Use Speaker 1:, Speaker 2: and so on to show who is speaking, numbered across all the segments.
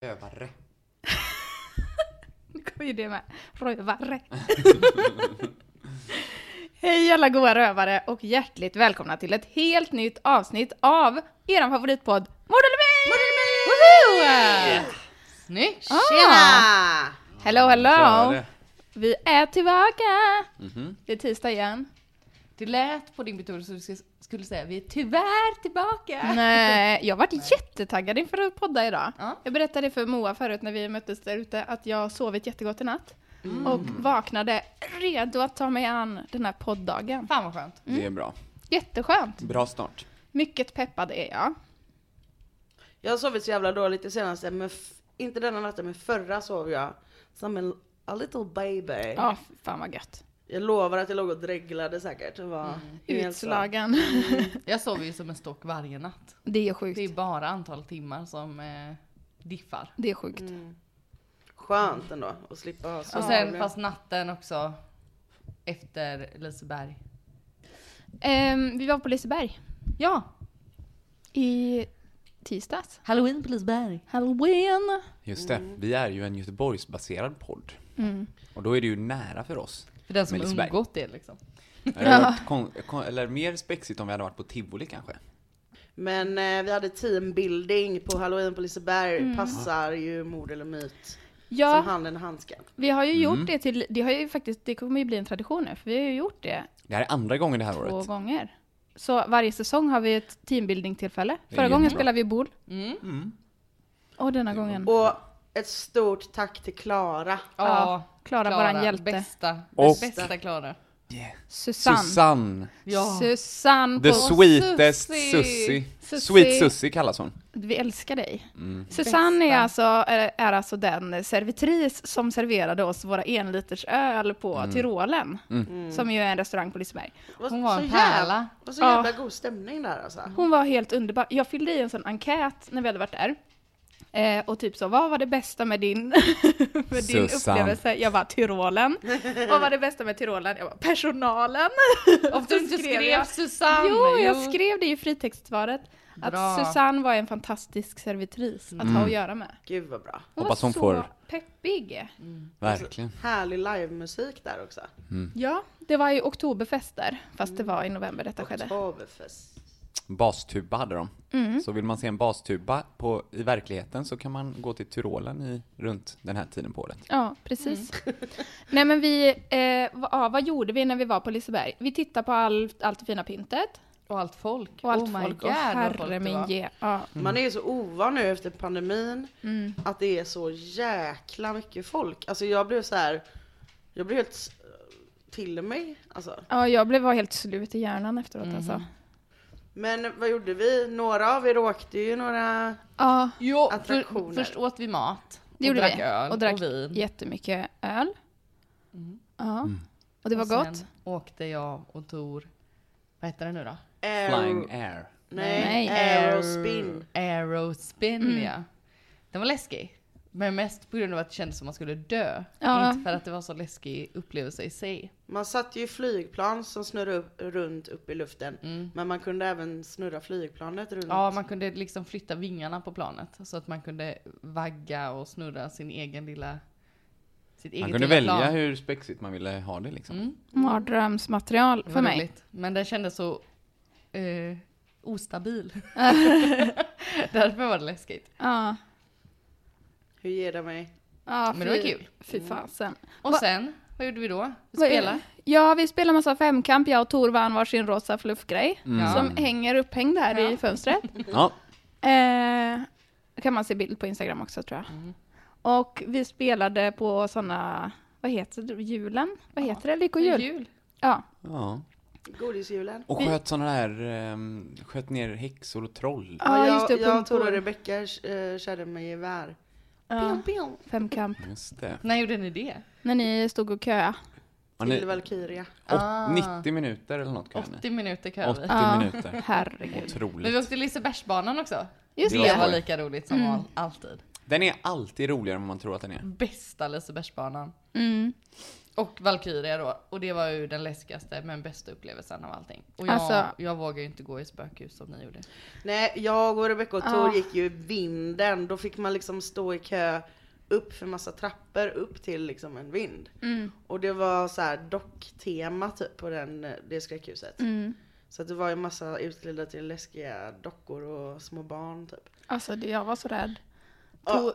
Speaker 1: Rövare.
Speaker 2: Nu kommer ju det med. Rövare. Hej alla goa rövare och hjärtligt välkomna till ett helt nytt avsnitt av er favoritpodd Mord eller Myt! Woho!
Speaker 1: Snyggt!
Speaker 2: Ah.
Speaker 1: Tjena!
Speaker 2: Hello
Speaker 3: Klara
Speaker 2: hello!
Speaker 3: det.
Speaker 2: Vi är tillbaka! Det är tisdag igen.
Speaker 1: Det lät på din betoning som du ska- skulle säga vi är tyvärr tillbaka.
Speaker 2: Nej, jag varit jättetaggad inför att podda idag.
Speaker 1: Ja.
Speaker 2: Jag berättade för Moa förut när vi möttes där ute att jag sovit jättegott i natt.
Speaker 1: Mm.
Speaker 2: Och vaknade redo att ta mig an den här poddagen.
Speaker 1: Fan vad skönt.
Speaker 3: Det är bra.
Speaker 2: Jätteskönt!
Speaker 3: Bra start.
Speaker 2: Mycket peppad är jag.
Speaker 4: Jag har sovit så jävla dåligt det senaste, men f- inte denna natten, men förra sov jag som en a little baby.
Speaker 2: Ja, fy fan vad gött.
Speaker 4: Jag lovar att jag låg och dreglade säkert. Det var
Speaker 1: Mm.
Speaker 4: helt så.
Speaker 2: Utslagen.
Speaker 1: Jag sover ju som en stock varje natt.
Speaker 2: Det är
Speaker 1: Det är
Speaker 2: sjukt.
Speaker 1: bara antal timmar som eh, diffar.
Speaker 2: Det är sjukt.
Speaker 1: Mm.
Speaker 4: Skönt ändå att slippa ha
Speaker 1: Och
Speaker 4: så.
Speaker 1: sen fast natten också. Efter Liseberg.
Speaker 2: Ehm, vi var på Liseberg
Speaker 1: Ja!
Speaker 2: i tisdags.
Speaker 1: Halloween på Liseberg.
Speaker 2: Halloween!
Speaker 3: Just det. Vi är ju en Göteborgsbaserad podd.
Speaker 2: Mm.
Speaker 3: Och då är det ju nära för oss.
Speaker 1: För den som
Speaker 3: Med Liseberg.
Speaker 1: undgått det liksom.
Speaker 3: Det hade varit kon- kon- eller mer spexigt om vi hade varit på tivoli kanske.
Speaker 4: Men eh, vi hade teambuilding på halloween på Liseberg,
Speaker 1: Mm.
Speaker 4: passar ju mord eller myt. Som
Speaker 2: Ja,
Speaker 4: handen i handsken.
Speaker 2: vi har ju
Speaker 3: Mm.
Speaker 2: gjort det till, det har ju faktiskt, det kommer ju bli en tradition nu, för vi har ju gjort det
Speaker 3: Det här är andra gången det här
Speaker 2: två
Speaker 3: året.
Speaker 2: gånger. Så varje säsong har vi ett teambuilding-tillfälle.
Speaker 3: är Mm.
Speaker 2: Förra gången
Speaker 3: jättebra.
Speaker 2: spelade vi boule. Och denna gången.
Speaker 4: Och ett stort tack till Klara.
Speaker 2: Ja, Klara, våran hjälte.
Speaker 1: Bästa.
Speaker 3: Och-
Speaker 1: Bästa Klara.
Speaker 2: Susanne.
Speaker 3: Susanne.
Speaker 1: Ja.
Speaker 2: Susanne
Speaker 3: The
Speaker 2: på
Speaker 3: sweetest
Speaker 1: Sussi.
Speaker 3: Sussi.
Speaker 2: Sussi.
Speaker 3: Sweet Sussi kallas hon. Mm.
Speaker 2: Vi älskar dig. Susanne är alltså, är, är alltså den servitris som serverade oss våra enliters öl på
Speaker 3: Mm.
Speaker 2: Tyrolen, som ju är en restaurang på Liseberg.
Speaker 1: Hon var en
Speaker 4: så
Speaker 1: pärla.
Speaker 4: jävla, det var så jävla
Speaker 2: Ja.
Speaker 4: god stämning där alltså.
Speaker 2: Hon var helt underbar. Jag fyllde i en sån enkät när vi hade varit där. Eh, och typ så, vad var det bästa med din, med din
Speaker 3: Susanne.
Speaker 2: upplevelse? Jag bara, Tyrolen. vad var det bästa med Tyrolen? Jag bara, personalen.
Speaker 1: Om
Speaker 2: Så
Speaker 1: du inte skrev
Speaker 2: jag.
Speaker 1: Susanne!
Speaker 2: Jo, jag skrev det i fritextsvaret.
Speaker 1: Bra.
Speaker 2: Att Susanne var en fantastisk servitris att ha att göra med.
Speaker 4: Gud vad bra.
Speaker 2: Hon
Speaker 3: Hoppas
Speaker 2: var
Speaker 3: Mm.
Speaker 2: så
Speaker 3: hon får-
Speaker 2: peppig.
Speaker 1: Mm.
Speaker 3: Verkligen.
Speaker 4: Härlig livemusik där också.
Speaker 2: Ja, det var ju oktoberfest där, fast det var i november detta skedde.
Speaker 4: Oktoberfest.
Speaker 3: Bastuba hade de.
Speaker 4: Mm.
Speaker 3: Så vill man se en bastuba på, i verkligheten så kan man gå till Tyrolen i, runt den här tiden på året.
Speaker 2: Ja, precis.
Speaker 1: Mm.
Speaker 2: Nej men vi, eh, va- ja, vad gjorde vi när vi var på Liseberg? Vi tittade på allt, allt det fina pyntet
Speaker 1: Och allt folk.
Speaker 2: och allt
Speaker 1: oh my
Speaker 2: folk.
Speaker 1: God,
Speaker 2: och
Speaker 1: vad folk
Speaker 2: herre
Speaker 1: det
Speaker 2: min
Speaker 1: var.
Speaker 2: ge. Ja.
Speaker 4: Man är ju så ovan nu efter pandemin
Speaker 1: Mm.
Speaker 4: att det är så jäkla mycket folk. Alltså jag blev så här, jag blev helt s- till mig alltså.
Speaker 2: ja, jag blev var helt slut i hjärnan efteråt
Speaker 1: Mm.
Speaker 2: alltså.
Speaker 4: Men vad gjorde vi? Några av er åkte ju några,
Speaker 2: Ja,
Speaker 1: Jo, för,
Speaker 4: Attraktioner.
Speaker 1: först åt vi mat.
Speaker 2: det gjorde
Speaker 1: och drack
Speaker 2: vi.
Speaker 1: öl
Speaker 2: och drack
Speaker 1: vin. Mm.
Speaker 2: jättemycket öl. Ja, och det var
Speaker 1: Och
Speaker 2: gott.
Speaker 1: Sen åkte jag och Tor, vad heter det nu då?
Speaker 4: aer,
Speaker 3: Flying Air.
Speaker 4: nej,
Speaker 2: Nej.
Speaker 4: aerospin.
Speaker 1: Aerospin
Speaker 2: Mm.
Speaker 1: ja. Den var läskig. Men mest på grund av att det kändes som att man skulle dö.
Speaker 2: Ja. Mm.
Speaker 1: Inte för att det var så läskig upplevelse i sig.
Speaker 4: Man satt ju i flygplan som snurrade upp, runt upp i luften.
Speaker 2: Mm.
Speaker 4: Men man kunde även snurra flygplanet runt.
Speaker 1: Ja, man kunde liksom flytta vingarna på planet. Så att man kunde vagga och snurra sin egen lilla... Sitt eget
Speaker 3: Man kunde
Speaker 1: lilla
Speaker 3: välja
Speaker 1: plan.
Speaker 3: hur spexigt man ville ha det liksom.
Speaker 4: Mm.
Speaker 2: Mardrömsmaterial
Speaker 1: Det
Speaker 2: för
Speaker 1: var
Speaker 2: mig.
Speaker 1: roligt. Men den kändes så eh, ostabil. Därför var det läskigt.
Speaker 2: Ja.
Speaker 4: Hur ger det mig?
Speaker 2: ja
Speaker 1: Men det var
Speaker 2: fy-
Speaker 1: kul. Mm.
Speaker 2: Fy fasen.
Speaker 1: Och
Speaker 2: Va-
Speaker 1: sen, vad gjorde vi då? Vi
Speaker 2: Vad-
Speaker 1: spelade.
Speaker 2: Ja, vi spelade massa femkamp. Jag och Tor vann varsin rosa fluffgrej. Som hänger upphängd här i
Speaker 1: Ja.
Speaker 2: fönstret.
Speaker 3: Ja.
Speaker 2: Eh, kan man se bild på Instagram också tror jag. Och vi spelade på sådana, vad heter det, julen? Vad heter det? Lyckohjul?
Speaker 1: Jul.
Speaker 2: Ja.
Speaker 3: ja.
Speaker 4: Godishjulen.
Speaker 3: Och sköt sådana där, ehm, sköt ner häxor och troll.
Speaker 2: Ja,
Speaker 4: jag,
Speaker 2: just det,
Speaker 4: jag
Speaker 2: pumpor.
Speaker 4: tror Rebecka eh, körde med gevär. Pium, pium.
Speaker 2: Femkamp.
Speaker 3: Just det.
Speaker 1: När gjorde ni det?
Speaker 2: När ni stod och köa.
Speaker 3: Har
Speaker 4: Till
Speaker 3: ni,
Speaker 4: Valkyria. Ah.
Speaker 3: åt, 90 minuter eller något kan ni?
Speaker 1: 80 minuter kör
Speaker 3: 80
Speaker 1: vi.
Speaker 3: minuter.
Speaker 2: Herregud.
Speaker 1: Men vi
Speaker 3: Otroligt.
Speaker 1: åkte till Lisebergsbanan också. Mm.
Speaker 2: Just
Speaker 1: Det
Speaker 3: Det
Speaker 2: det.
Speaker 3: var
Speaker 1: var
Speaker 3: skoj.
Speaker 1: lika roligt som all- alltid.
Speaker 3: Den är alltid roligare än vad man tror att den är.
Speaker 1: Bästa Lisebergsbanan.
Speaker 2: Mm.
Speaker 1: Och Valkyria då. Och det var ju den läskigaste men bästa upplevelsen av allting. Och jag,
Speaker 2: Alltså-
Speaker 1: jag vågar ju inte gå i spökhus som ni gjorde.
Speaker 4: Nej, jag och Rebecca och Tor
Speaker 2: Ah.
Speaker 4: gick ju i vinden. Då fick man liksom stå i kö upp för massa trappor upp till liksom en vind.
Speaker 2: Mm.
Speaker 4: Och det var så här docktema typ på den, det skräckhuset.
Speaker 2: Mm.
Speaker 4: Så att det var ju massa utklädda till läskiga dockor och små barn typ.
Speaker 2: Alltså det, jag var så rädd.
Speaker 4: Ja.
Speaker 2: Tor,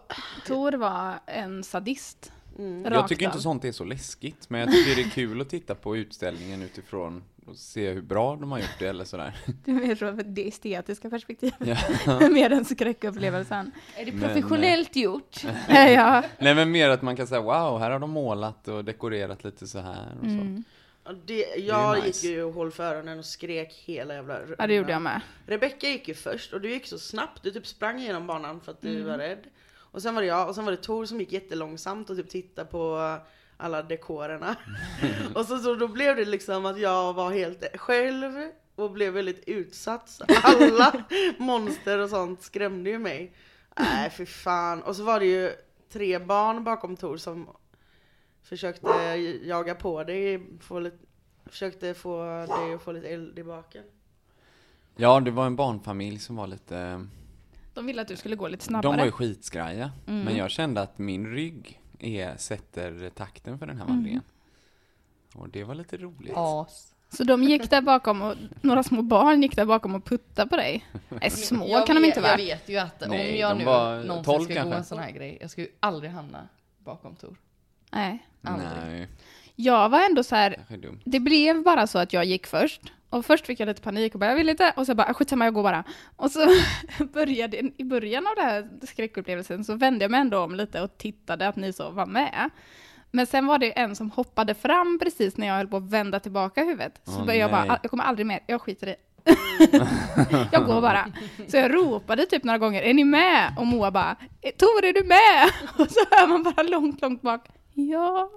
Speaker 2: Tor var en sadist.
Speaker 4: Mm.
Speaker 2: Rakt
Speaker 3: Jag tycker inte
Speaker 2: av.
Speaker 3: sånt är så läskigt, men jag tycker det är kul att titta på utställningen utifrån och se hur bra de har gjort det eller sådär.
Speaker 2: Det är mer från det estetiska perspektivet.
Speaker 3: Ja.
Speaker 2: mer än skräckupplevelsen.
Speaker 1: Är det
Speaker 3: Men, eh,
Speaker 1: professionellt gjort?
Speaker 2: ja.
Speaker 3: Nej men mer att man kan säga wow, här har de målat och dekorerat lite så här och så.
Speaker 2: Mm.
Speaker 4: Och Det, jag
Speaker 3: nice.
Speaker 4: gick ju och höll för öronen och skrek hela jävla
Speaker 2: ja, det gjorde jag med.
Speaker 4: Rebecka gick ju först och du gick så snabbt, du typ sprang genom banan för att du var rädd. Och sen var det jag och sen var det Tor som gick jättelångsamt och typ tittade på alla dekorerna. och så, så då blev det liksom att jag var helt själv och blev väldigt utsatt. Så Alla monster och sånt skrämde ju mig. Nej äh, för fan. Och så var det ju tre barn bakom Tor som försökte jaga på dig, få lite, försökte få dig att få lite eld i baken.
Speaker 3: Ja, det var en barnfamilj som var lite...
Speaker 2: De ville att du skulle gå lite
Speaker 3: De
Speaker 2: snabbare. Mm.
Speaker 3: var ju skitskraja. Men jag kände att min rygg är, sätter takten för den här
Speaker 2: Mm.
Speaker 3: vandringen. Och det var lite roligt.
Speaker 1: As.
Speaker 2: Så de gick där bakom och några små barn gick där bakom och puttade på dig. Nej, små
Speaker 1: Jag
Speaker 2: kan de
Speaker 1: vet-
Speaker 2: inte vara.
Speaker 1: Jag vet ju att
Speaker 3: Nej,
Speaker 1: om jag
Speaker 3: de
Speaker 1: nu
Speaker 3: var
Speaker 1: någonsin
Speaker 3: 12
Speaker 1: ska gå
Speaker 3: kanske.
Speaker 1: en sån här grej, jag ska ju aldrig hamna bakom Tor.
Speaker 2: Nej.
Speaker 1: Aldrig.
Speaker 3: Nej,
Speaker 2: Jag var ändå så här,
Speaker 3: kanske dumt.
Speaker 2: det blev bara så att jag gick först. Och först fick jag lite panik och bara jag vill inte och så bara "Ah, skitsamma jag går bara. Och så började, i början av den här skräckupplevelsen så vände jag mig ändå om lite och tittade att ni så var med. Men sen var det en som hoppade fram precis när jag höll på att vända tillbaka huvudet. Så
Speaker 3: Åh,
Speaker 2: började jag bara,
Speaker 3: nej.
Speaker 2: "Ah, jag kommer aldrig mer, jag skiter i. jag går bara. Så jag ropade typ några gånger, är ni med? Och Moa bara, "Eh, Tor är du med? Och så hör man bara långt, långt bak, ja.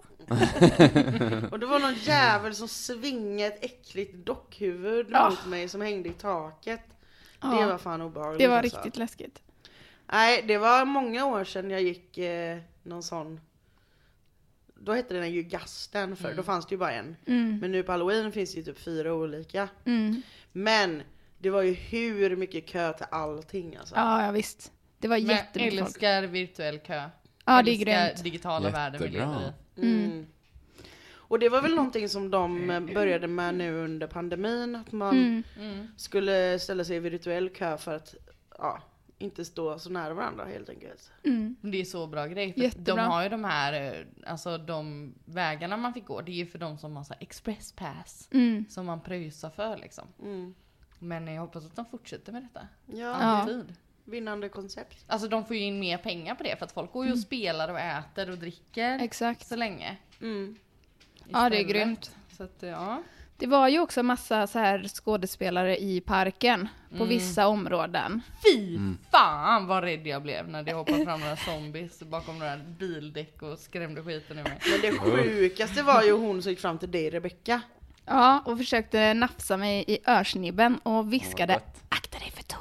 Speaker 4: Och det var någon jävel som svingade ett äckligt dockhuvud
Speaker 2: Ja.
Speaker 4: mot mig som hängde i taket.
Speaker 2: Ja.
Speaker 4: Det var fan obehagligt
Speaker 2: Ah. Det var
Speaker 4: alltså.
Speaker 2: riktigt läskigt.
Speaker 4: Nej, det var många år sedan jag gick eh, någon sån... Då hette den ju Gasten
Speaker 2: Mm.
Speaker 4: för då fanns det ju bara en. Men nu på halloween finns det ju typ fyra olika.
Speaker 2: mm.
Speaker 4: Men det var ju hur mycket kö till allting alltså.
Speaker 2: Ja, ja visst. Det var
Speaker 1: Men
Speaker 2: jättemycket folk.
Speaker 1: älskar virtuell kö.
Speaker 2: Ja, det är
Speaker 1: Älskar
Speaker 2: grymt.
Speaker 1: digitala världen vi
Speaker 3: Jättebra.
Speaker 1: lever i.
Speaker 2: Mm.
Speaker 4: Mm. Och det var väl någonting som de eh, började med nu under pandemin, att man
Speaker 2: Mm.
Speaker 4: Mm. skulle ställa sig i virtuell kö för att ja, inte stå så nära varandra helt enkelt.
Speaker 1: Det är så bra grej. För
Speaker 2: Jättebra.
Speaker 1: de har ju de här, eh, alltså de vägarna man fick gå, det är ju för de som har så här express pass.
Speaker 2: Mm.
Speaker 1: Som man pröjsar för liksom. Men jag hoppas att de fortsätter med detta.
Speaker 4: Ja,
Speaker 1: Alltid.
Speaker 4: vinnande koncept.
Speaker 1: Alltså de får ju in mer pengar på det för att folk går ju och spelar och äter och dricker.
Speaker 2: Mm. Exakt.
Speaker 1: Så länge.
Speaker 2: Ja, det är
Speaker 1: Istället.
Speaker 2: grymt.
Speaker 1: Så att ja.
Speaker 2: Det var ju också massa så här skådespelare i parken på vissa områden.
Speaker 1: Fy fan vad rädd jag blev när det hoppade fram några zombies bakom några bildäck och skrämde skiten ur mig.
Speaker 4: Men det sjukaste var ju hon som gick fram till dig Rebecka.
Speaker 2: Ja, och försökte nafsa mig i örsnibben och viskade
Speaker 3: gott.
Speaker 2: akta dig för Tor.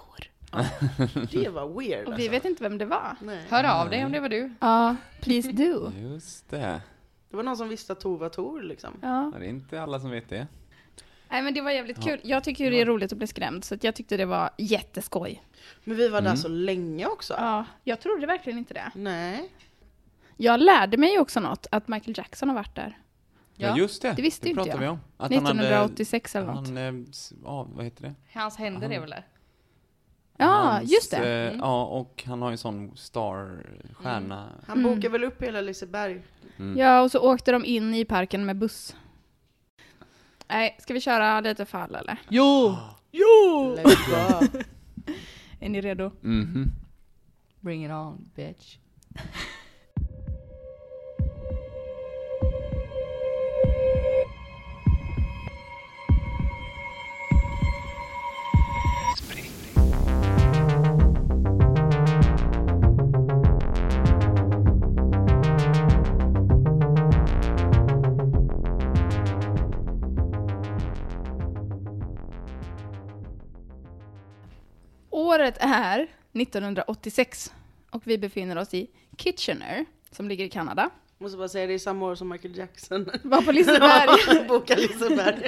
Speaker 4: Det var weird
Speaker 2: Och vi
Speaker 4: alltså.
Speaker 2: vet inte vem det var.
Speaker 1: Hör av dig om det var du.
Speaker 2: Ja, please do.
Speaker 3: Just det.
Speaker 4: Det var någon som visste att Tor var Tor liksom.
Speaker 3: Ja, Det är inte alla som vet det.
Speaker 2: Nej men det var jävligt kul. Jag tycker ju det är roligt att bli skrämd så att jag tyckte det var jätteskoj.
Speaker 4: Men vi var där så länge också.
Speaker 2: Ja, jag trodde verkligen inte det.
Speaker 4: Nej.
Speaker 2: Jag lärde mig ju också något, att Michael Jackson har varit där.
Speaker 3: Ja,
Speaker 1: Ja,
Speaker 3: just det.
Speaker 2: det visste inte
Speaker 3: pratade
Speaker 2: jag.
Speaker 3: vi om. Att
Speaker 2: 1986 eller
Speaker 3: han,
Speaker 2: något.
Speaker 3: eh, s- ja, vad heter det?
Speaker 1: Hans händer är väl där?
Speaker 2: Ja,
Speaker 3: Hans,
Speaker 2: just
Speaker 3: eh,
Speaker 2: det. Mm.
Speaker 3: Ja, och han har ju en sån starstjärna.
Speaker 4: Han
Speaker 2: Mm.
Speaker 4: bokar väl upp hela Liseberg. Mm.
Speaker 2: Ja, och så åkte de in i parken med buss. Nej, ska vi köra lite fall eller?
Speaker 1: Jo!
Speaker 4: Let's go. Mm.
Speaker 2: Är ni redo?
Speaker 3: Mhm.
Speaker 1: Bring it on bitch.
Speaker 2: Året är 1986 och vi befinner oss i Kitchener som ligger i Kanada.
Speaker 4: Måste bara säga, det är samma år som Michael Jackson.
Speaker 2: Var på Liseberg.
Speaker 4: Boka Liseberg.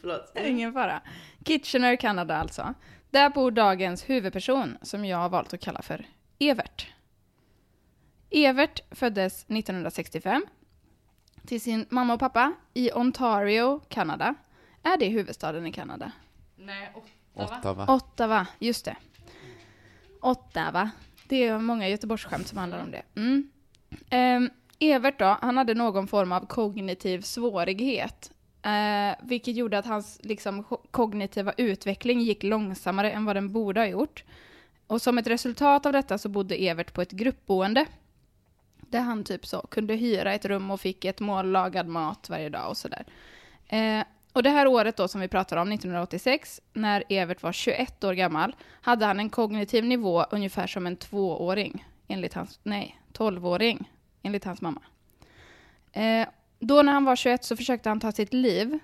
Speaker 4: Förlåt.
Speaker 2: Ingen fara. Kitchener, Kanada alltså. Där bor dagens huvudperson som jag har valt att kalla för Evert. Evert föddes 1965 till sin mamma och pappa i Ontario, Kanada. Är det huvudstaden i Kanada?
Speaker 1: Nej, åtta va?
Speaker 3: Ottawa.
Speaker 2: Ottawa, just det. Ottawa. Det är många Göteborgsskämt som handlar om det. Mm. Ehm, Evert då, han hade någon form av kognitiv svårighet. eh, vilket gjorde att hans liksom, ko- kognitiva utveckling gick långsammare än vad den borde ha gjort. Och som ett resultat av detta så bodde Evert på ett gruppboende. Där han typ så kunde hyra ett rum och fick ett mål lagad mat varje dag och sådär. Eh, och det här året då som vi pratar om, 1986, när Evert var 21 år gammal, hade han en kognitiv nivå ungefär som en tvååring, enligt hans, nej, tolvåring, enligt hans mamma. Eh, då när han var 21 så försökte han ta sitt liv.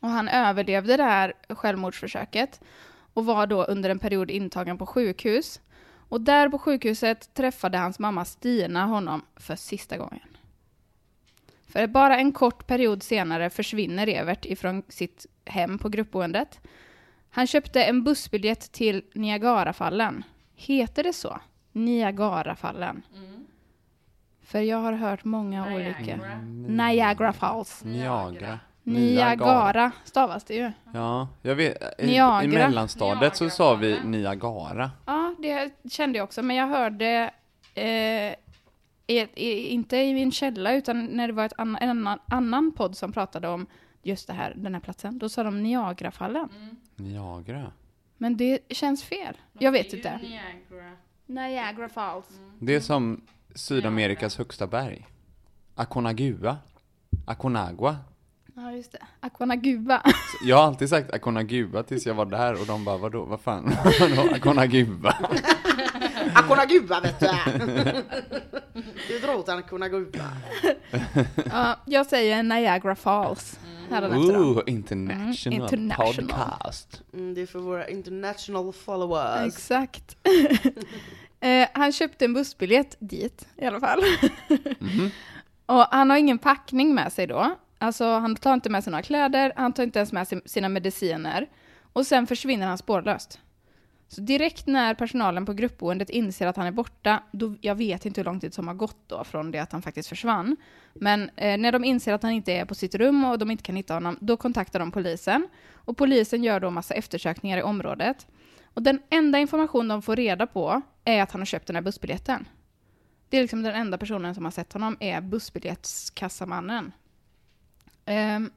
Speaker 2: Och han överlevde det här självmordsförsöket och var då under en period intagen på sjukhus. Och där på sjukhuset träffade hans mamma Stina honom för sista gången. För bara en kort period senare försvinner Evert ifrån sitt hem på gruppboendet. Han köpte en bussbiljett till Niagarafallen. Heter det så? Niagarafallen? För jag har hört många olika. Niagara Falls.
Speaker 3: Niagara.
Speaker 2: Niagara stavas det ju.
Speaker 3: Ja, jag vet. eh, I,
Speaker 2: Niagara.
Speaker 3: i mellanstadiet så sa vi Niagara.
Speaker 2: Ja, det kände jag också, men jag hörde eh, i, i, inte i min källa, utan när det var ett anna, en annan, annan podd som pratade om just det här, den här platsen, då sa de Niagarafallen.
Speaker 3: Niagara.
Speaker 2: Men det känns fel. Jag vet inte. Mm.
Speaker 1: Niagara.
Speaker 2: Niagara Falls.
Speaker 3: Det är som Sydamerikas högsta berg. Aconagua. Aconagua.
Speaker 2: Ja, just det. Aquanaguba.
Speaker 3: Jag har alltid sagt Aconagua tills jag var där och de bara vadå, vad fan, vadå, Aconagua?
Speaker 4: Akonaguba vet du! Du drar åt Akonaguba.
Speaker 2: ja, jag säger Niagara Falls. Hädanefter då.
Speaker 3: Ooh, international,
Speaker 2: Mm, international.
Speaker 3: podcast.
Speaker 4: Mm, det är för våra international followers.
Speaker 2: Exakt. eh, han köpte en bussbiljett dit i alla fall. Och han har ingen packning med sig då. Alltså han tar inte med sig några kläder, han tar inte ens med sig sina mediciner. Och sen försvinner han spårlöst. Så direkt när personalen på gruppboendet inser att han är borta, då, jag vet inte hur lång tid som har gått då från det att han faktiskt försvann. Men eh, när de inser att han inte är på sitt rum och de inte kan hitta honom, då kontaktar de polisen. Och polisen gör då massa eftersökningar i området. Och den enda information de får reda på är att han har köpt den här bussbiljetten. Det är liksom den enda personen som har sett honom är bussbiljettskassamannen. Ehm,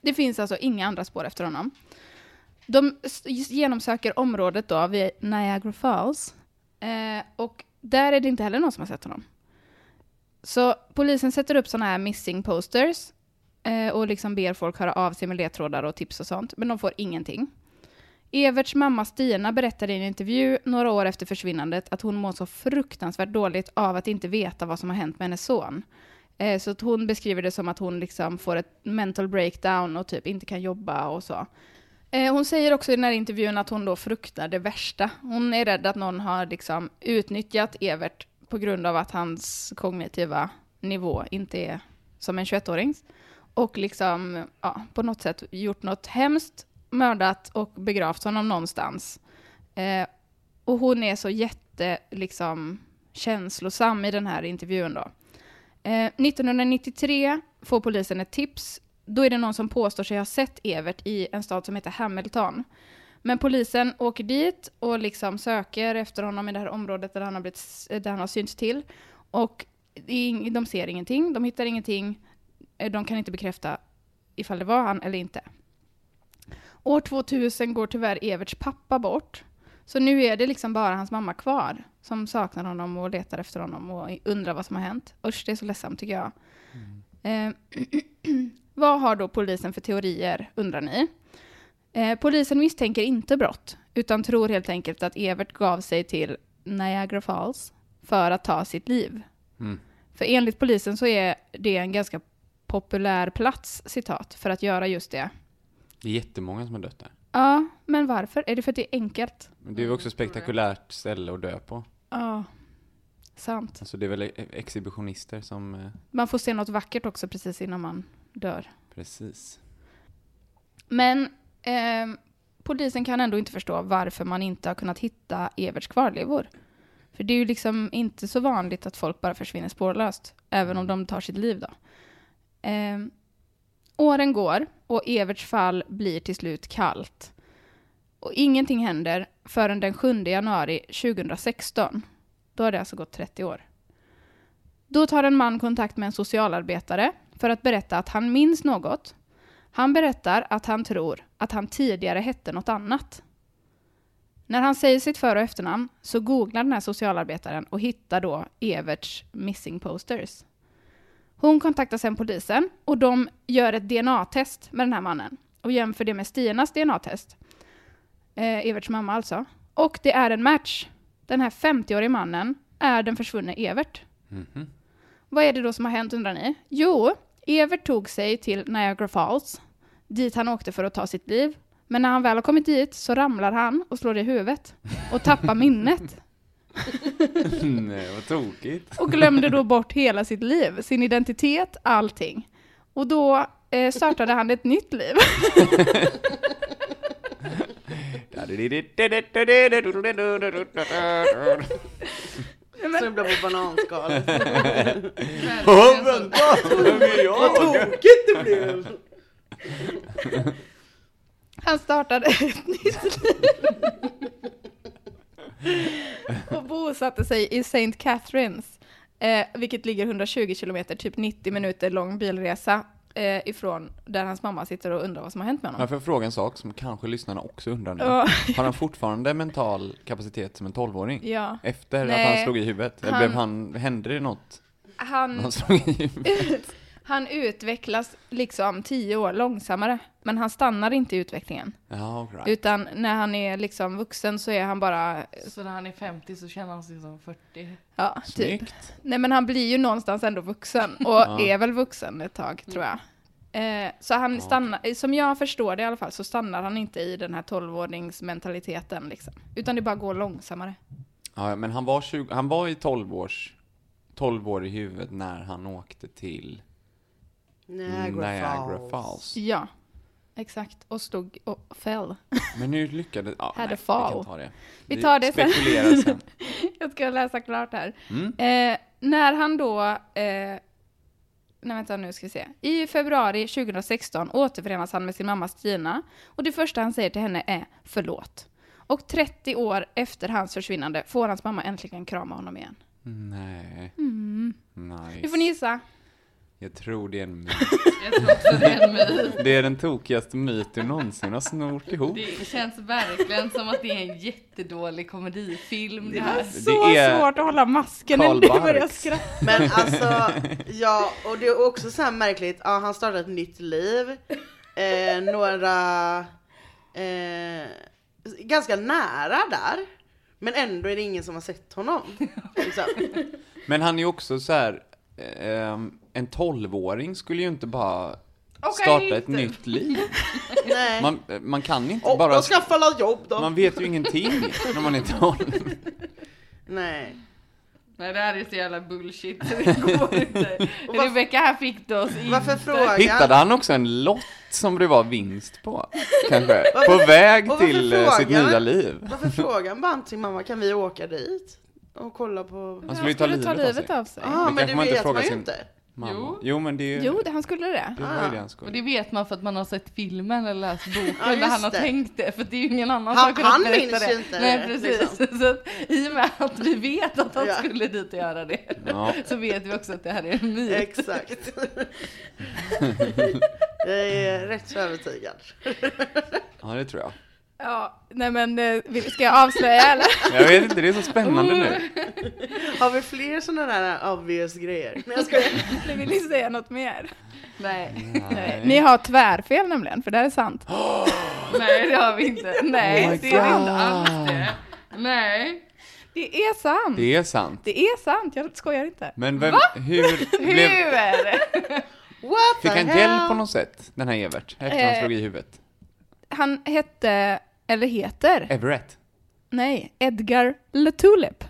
Speaker 2: det finns alltså inga andra spår efter honom. De s- genomsöker området då vid Niagara Falls. Eh, och där är det inte heller någon som har sett honom. Så polisen sätter upp sådana här missing posters eh, och liksom ber folk höra av sig med ledtrådar och tips och sånt. Men de får ingenting. Everts mamma Stina berättade i en intervju några år efter försvinnandet att hon mår så fruktansvärt dåligt av att inte veta vad som har hänt med hennes son. Eh, Så att hon beskriver det som att hon liksom får ett mental breakdown och typ inte kan jobba och så. Eh, Hon säger också i den här intervjun att hon då fruktar det värsta. Hon är rädd att någon har liksom utnyttjat Evert på grund av att hans kognitiva nivå inte är som en 21-årings. Och liksom, ja, på något sätt gjort något hemskt, mördat och begravt honom någonstans. Eh, och hon är så jätte, liksom, känslosam i den här intervjun då. Eh, 1993 får polisen ett tips. Då är det någon som påstår sig ha sett Evert i en stad som heter Hamilton. Men polisen åker dit och liksom söker efter honom i det här området där han har, blivit, eh, där han har synts till. Och det är ing- de ser ingenting, de hittar ingenting, eh, de kan inte bekräfta ifall det var han eller inte. År 2000 går tyvärr Everts pappa bort. Så nu är det liksom bara hans mamma kvar som saknar honom och letar efter honom och undrar vad som har hänt. Usch, det är så ledsamt tycker jag. Eh, vad har då polisen för teorier, undrar ni? Eh, polisen misstänker inte brott, utan tror helt enkelt att Evert gav sig till Niagara Falls för att ta sitt liv. För enligt polisen så är det en ganska populär plats, citat, för att göra just det.
Speaker 3: Det är jättemånga som har dött där.
Speaker 2: Ja, men varför? Är det för att det är enkelt?
Speaker 3: Men det är ju också ett spektakulärt ställe att dö på.
Speaker 2: Ja, sant.
Speaker 3: Alltså det är väl e- exhibitionister som... eh,
Speaker 2: Man får se något vackert också precis innan man dör.
Speaker 3: Precis.
Speaker 2: Men ehm, polisen kan ändå inte förstå varför man inte har kunnat hitta Everts kvarlevor. För det är ju liksom inte så vanligt att folk bara försvinner spårlöst, även om de tar sitt liv då. Ehm, åren går och Everts fall blir till slut kallt. Och ingenting händer förrän den 7 januari 2016. Då har det alltså gått 30 år. Då tar en man kontakt med en socialarbetare för att berätta att han minns något han berättar att han tror att han tidigare hette något annat. När han säger sitt för och efternamn så googlar den här socialarbetaren och hittar då Everts missing posters. Hon kontaktar sen polisen och de gör ett DNA-test med den här mannen och jämför det med Stinas DNA-test. Eh, Everts mamma alltså. Och det är en match. Den här 50-årige mannen är den försvunne Evert. Vad är det då som har hänt undrar ni? Jo, Evert tog sig till Niagara Falls, dit han åkte för att ta sitt liv. Men när han väl har kommit dit så ramlar han och slår i huvudet och tappar minnet.
Speaker 3: Nej, Mm, eh, vad tokigt.
Speaker 2: Och glömde då bort hela sitt liv, sin identitet, allting. Och då eh, startade han ett nytt liv.
Speaker 4: Så jag blev på bananskalet.
Speaker 3: Åh, vänta! Vem är
Speaker 4: Vad
Speaker 3: jag?
Speaker 4: tokigt det blev!
Speaker 2: Han startade ett nytt liv. Och bosatte sig i St. Catharines, eh, vilket ligger 120 kilometer, typ 90 minuter lång bilresa eh, ifrån där hans mamma sitter och undrar vad som har hänt med honom.
Speaker 3: Jag får fråga en sak som kanske lyssnarna också undrar nu.
Speaker 2: Ja.
Speaker 3: Har han fortfarande mental kapacitet som en 12-åring?
Speaker 2: Ja.
Speaker 3: Efter
Speaker 2: Nej.
Speaker 3: att han slog i huvudet? Eller
Speaker 2: Han-
Speaker 3: blev han... Hände det något? när
Speaker 2: Han,
Speaker 3: Han slog i huvudet?
Speaker 2: han utvecklas liksom 10 år långsammare, men han stannar inte i utvecklingen.
Speaker 3: Ja, all right.
Speaker 2: Utan när han är liksom vuxen så är han bara,
Speaker 1: Så när han är 50 så känner han sig som 40.
Speaker 2: ja, typ.
Speaker 3: Snyggt.
Speaker 2: Nej men han blir ju någonstans ändå vuxen och är väl vuxen ett tag tror jag. Eh, så han stannar, som jag förstår det i alla fall, så stannar han inte i den här tolvåringsmentaliteten liksom. Utan det bara går långsammare.
Speaker 3: Ja, men han var, 20, han var i 12 års... 12 år i huvudet när han åkte till
Speaker 4: Niagara
Speaker 3: Niagara
Speaker 4: Falls.
Speaker 3: Falls.
Speaker 2: Ja, exakt. Och stod och föll.
Speaker 3: Men hur lyckades... Ja,
Speaker 2: Had a
Speaker 3: nej,
Speaker 2: fall.
Speaker 3: Vi kan ta det.
Speaker 2: Vi tar det sen.
Speaker 3: spekulerar sen. Mm.
Speaker 2: jag ska läsa klart här. Eh, när han då... Eh, nej, vänta nu ska vi se. I februari 2016 återförenas han med sin mamma Stina och det första han säger till henne är förlåt. Och 30 år efter hans försvinnande får hans mamma äntligen krama honom igen.
Speaker 3: Nej. Nice.
Speaker 2: Nu får ni gissa.
Speaker 3: Jag tror det är en myt.
Speaker 1: Jag tror också det är en myt.
Speaker 3: Det är den tokigaste myt du någonsin har snort ihop.
Speaker 1: Det känns verkligen som att det är en jättedålig komedifilm det här.
Speaker 2: Så svårt att hålla masken
Speaker 3: Karl
Speaker 2: när du börjar
Speaker 3: Barks.
Speaker 2: skratta.
Speaker 4: Men alltså, ja, och det är också så här märkligt, ja, han startade ett nytt liv, eh, några, eh, ganska nära där, men ändå är det ingen som har sett honom. Liksom.
Speaker 3: Men han är ju också så här. ehm, en tolvåring skulle ju inte bara starta ett nytt liv.
Speaker 4: Nej.
Speaker 3: Man, man kan inte
Speaker 4: och
Speaker 3: bara...
Speaker 4: de skaffar alla jobb då.
Speaker 3: Man vet ju ingenting när man är tolv.
Speaker 4: Nej.
Speaker 1: Nej det här är så jävla bullshit så det går inte.
Speaker 4: varför-
Speaker 1: Rebecka här fick du oss in.
Speaker 4: Varför frågar
Speaker 3: Hittade han också en lott som det var vinst på? Kanske. På väg
Speaker 4: och varför
Speaker 3: till eh, sitt
Speaker 4: frågar?
Speaker 3: nya liv.
Speaker 4: Varför frågar han bara inte sin mamma, kan vi åka dit? Och kolla på...
Speaker 3: Han skulle ju ta livet av sig.
Speaker 2: sig.
Speaker 4: Ja,
Speaker 3: kanske
Speaker 4: men det
Speaker 3: man inte
Speaker 4: vet
Speaker 3: frågar
Speaker 4: man ju
Speaker 3: sin-
Speaker 4: inte.
Speaker 3: mamma. Jo,
Speaker 1: Jo.
Speaker 3: men det, är ju-
Speaker 2: Jo, det, han skulle det.
Speaker 3: det var ju det han skulle.
Speaker 1: Och det vet man för att man har sett filmen eller läst boken
Speaker 4: Ja,
Speaker 1: där han
Speaker 4: just
Speaker 1: har
Speaker 4: det.
Speaker 1: tänkt det. För det är ju ingen annan
Speaker 4: Han-
Speaker 1: som har kunnat
Speaker 4: han
Speaker 1: berätta
Speaker 4: minns
Speaker 1: det.
Speaker 4: ju inte
Speaker 1: Nej
Speaker 4: det, liksom.
Speaker 1: precis. Så att, I och med att vi vet att han
Speaker 4: Ja.
Speaker 1: skulle dit och göra det.
Speaker 3: Ja.
Speaker 1: Så vet vi också att det här är en myt.
Speaker 4: Exakt. Jag är rätt så övertygad.
Speaker 3: ja, det tror jag.
Speaker 2: Ja, nej men eh, vill- ska jag avslöja eller?
Speaker 3: Jag vet inte, det är så spännande
Speaker 2: Oh,
Speaker 3: nu.
Speaker 4: Har vi fler sådana där obvious grejer? Nej jag skojar.
Speaker 2: Eller vill ni säga något mer?
Speaker 1: Nej.
Speaker 2: Nej. Ni har tvärfel nämligen, för det här är sant.
Speaker 1: Nej det har vi inte. Nej
Speaker 3: Oh my
Speaker 1: det är vi inte
Speaker 3: God.
Speaker 1: alls det. Nej.
Speaker 2: Det är sant! Det,
Speaker 3: Det är sant.
Speaker 2: är sant, jag skojar inte.
Speaker 3: Men vem, hur? Blev,
Speaker 1: Hur?
Speaker 4: What the
Speaker 3: fick han
Speaker 4: hell?
Speaker 3: hjälp på något sätt, den här Evert? Efter han
Speaker 2: Eh.
Speaker 3: slog i huvudet?
Speaker 2: Han hette, eller heter,
Speaker 3: Everett?
Speaker 2: nej, Edgar LeTulip.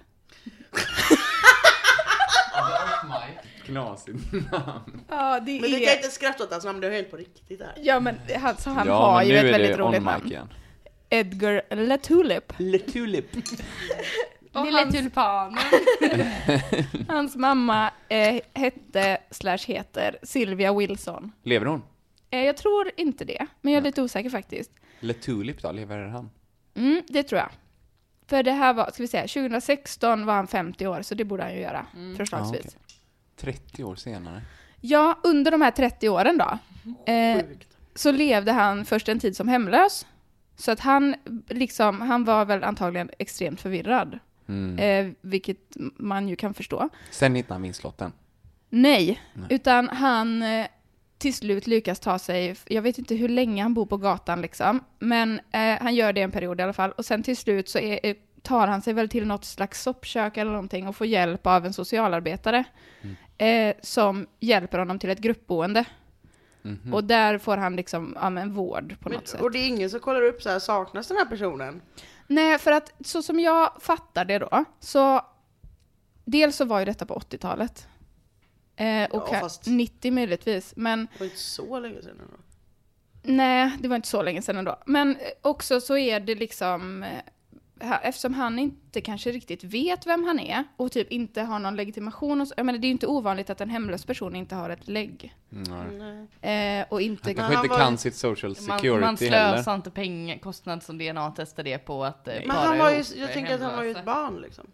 Speaker 3: Knasigt namn.
Speaker 2: Ja, det
Speaker 4: Men du kan
Speaker 2: är...
Speaker 4: inte skratta åt hans namn, det har hänt på riktigt det här.
Speaker 2: Ja, men alltså, han
Speaker 3: Ja,
Speaker 2: har
Speaker 3: men
Speaker 2: ju
Speaker 3: nu
Speaker 2: ett
Speaker 3: är
Speaker 2: väldigt
Speaker 3: det
Speaker 2: roligt
Speaker 3: on mic
Speaker 2: namn.
Speaker 3: igen.
Speaker 2: Edgar LeTulip.
Speaker 3: Letulip.
Speaker 1: Och Lilla hans... tulpanen.
Speaker 2: Hans mamma eh, hette, slash heter, Sylvia Wilson.
Speaker 3: Lever hon?
Speaker 2: Eh, jag tror inte det, men jag är lite osäker faktiskt.
Speaker 3: Letulip då, lever han?
Speaker 2: Mm, det tror jag. För det här var, ska vi säga, 2016 var han 50 år, så det borde han ju göra, förslagsvis.
Speaker 3: Ja, okej. 30 år senare.
Speaker 2: Ja, under de här 30 åren då, eh, så levde han först en tid som hemlös. Så att han, liksom, han var väl antagligen extremt förvirrad.
Speaker 3: Mm.
Speaker 2: Eh, vilket man ju kan förstå.
Speaker 3: Sen hittade han vinstlotten.
Speaker 2: Nej, utan han eh, till slut lyckas ta sig, jag vet inte hur länge han bor på gatan liksom, men eh, han gör det en period i alla fall. Och sen till slut så är, eh, tar han sig väl till något slags soppkök eller någonting och får hjälp av en socialarbetare eh, som hjälper honom till ett gruppboende. Och där får han liksom, ja men vård på något sätt.
Speaker 4: Men, och det är ingen som kollar upp så här, saknas den här personen?
Speaker 2: Nej, för att så som jag fattar det då, så dels så var ju detta på 80-talet. Eh, och
Speaker 4: Ja,
Speaker 2: ka-
Speaker 4: fast-
Speaker 2: 90 möjligtvis, men
Speaker 4: Det var inte så länge sedan ändå.
Speaker 2: Nej, det var inte så länge sedan ändå. Men eh, också så är det liksom, eh, ha- eftersom han inte kanske riktigt vet vem han är och typ inte har någon legitimation. Och så, jag menar, det är ju inte ovanligt att en hemlös person inte har ett lägg. Eh, och inte...
Speaker 3: Han kanske
Speaker 4: han
Speaker 3: inte
Speaker 4: var-
Speaker 3: kan sitt social security
Speaker 1: Man, man
Speaker 3: heller.
Speaker 1: slösar inte pengar, kostnad som DNA testar det på att eh,
Speaker 4: Men
Speaker 1: para
Speaker 4: han var ju,
Speaker 1: ihop
Speaker 4: jag tänker att han var ju ett
Speaker 1: hemlösa.
Speaker 4: barn liksom.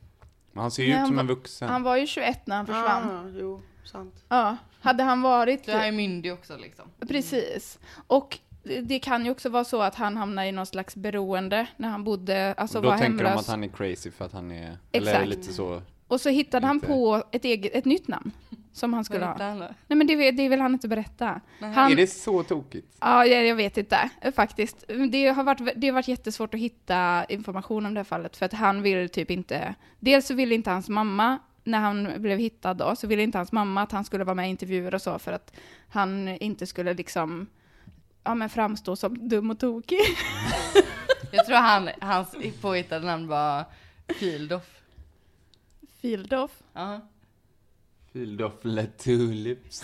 Speaker 3: Men han ser ju
Speaker 2: Nej,
Speaker 3: ut
Speaker 2: han
Speaker 3: som en
Speaker 2: var-
Speaker 3: vuxen.
Speaker 2: Han var ju 21 när han försvann.
Speaker 4: Ah, jo, sant.
Speaker 2: Ja, hade han varit...
Speaker 1: Du är ju myndig också liksom.
Speaker 2: Precis. Och det- det kan ju också vara så att han hamnade i någon slags beroende när han bodde, alltså
Speaker 3: Och då
Speaker 2: var
Speaker 3: tänker de
Speaker 2: hemlös.
Speaker 3: att han är crazy för att han är... Eller
Speaker 2: Exakt.
Speaker 3: lite så...
Speaker 2: Och så hittade han
Speaker 3: Inte.
Speaker 2: på ett, eget, ett nytt namn som han skulle
Speaker 1: Vad
Speaker 2: ha.
Speaker 1: hette han då?
Speaker 2: Nej men det, det vill han inte berätta.
Speaker 3: Är
Speaker 2: Han,
Speaker 3: det så tokigt?
Speaker 2: ja, jag, jag vet inte eh, faktiskt. Det har, varit, det har varit jättesvårt att hitta information om det här fallet för att han vill typ inte... Dels så ville inte hans mamma, när han blev hittad då, så ville inte hans mamma att han skulle vara med i intervjuer och så för att han inte skulle liksom ja, men framstå som dum och tokig.
Speaker 1: Jag tror han, hans påhittade namn var Fildoff.
Speaker 2: Fildoff.
Speaker 1: Ja.
Speaker 3: Filled off tulips.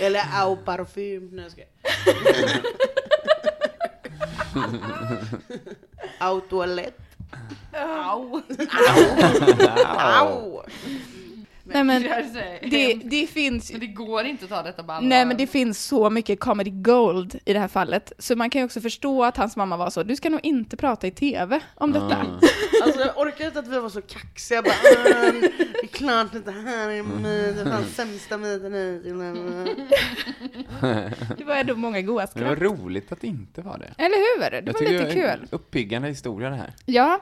Speaker 4: Eller au parfym. Nej, jag skojar. Au toalett.
Speaker 1: Au!
Speaker 4: Au!
Speaker 2: Nej men
Speaker 1: Gör sig.
Speaker 2: det, det finns
Speaker 1: Men det går inte att ta detta på allvar.
Speaker 2: Nej men det finns så mycket comedy gold i det här fallet, så man kan ju också förstå att hans mamma var så, du ska nog inte prata i TV om detta.
Speaker 4: Alltså jag orkar inte att vi var så kaxiga bara "Ah, Det är klart att det här är min, det är fan sämsta myten i
Speaker 2: Det var ändå många goa
Speaker 3: Men det var
Speaker 2: skratt.
Speaker 3: roligt att det inte var det.
Speaker 2: Eller hur? Det var
Speaker 3: Jag tycker
Speaker 2: lite
Speaker 3: det är
Speaker 2: kul.
Speaker 3: en Uppiggande historia det här.
Speaker 2: Ja.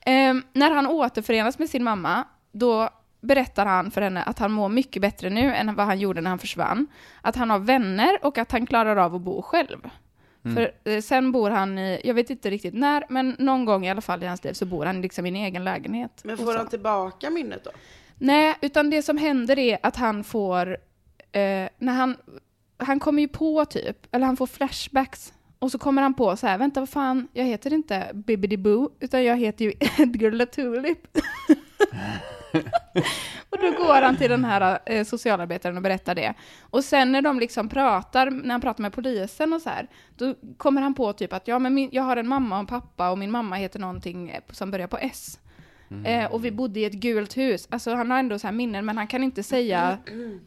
Speaker 2: Ehm, när han återförenas med sin mamma, då berättar han för henne att han mår mycket bättre nu än vad han gjorde när han försvann. Att han har vänner och att han klarar av att bo själv.
Speaker 3: Mm.
Speaker 2: För eh, sen bor han i, jag vet inte riktigt när, men någon gång i alla fall i hans liv så bor han liksom i en egen lägenhet.
Speaker 4: Men
Speaker 2: och
Speaker 4: får
Speaker 2: så.
Speaker 4: han tillbaka minnet då?
Speaker 2: Nej, utan det som händer är att han får... Eh, när han, han kommer ju på typ, eller han får flashbacks. Och så kommer han på så här, vänta vad fan, jag heter inte Bibbidi Boo, utan jag heter ju Edgar LaTulip. och då går han till den här eh, socialarbetaren och berättar det. Och sen när de liksom pratar, när han pratar med polisen och så här, då kommer han på typ att ja, men min, jag har en mamma och en pappa och min mamma heter någonting eh, som börjar på S. Eh, och vi bodde i ett gult hus. Alltså han har ändå så här minnen men han kan inte säga,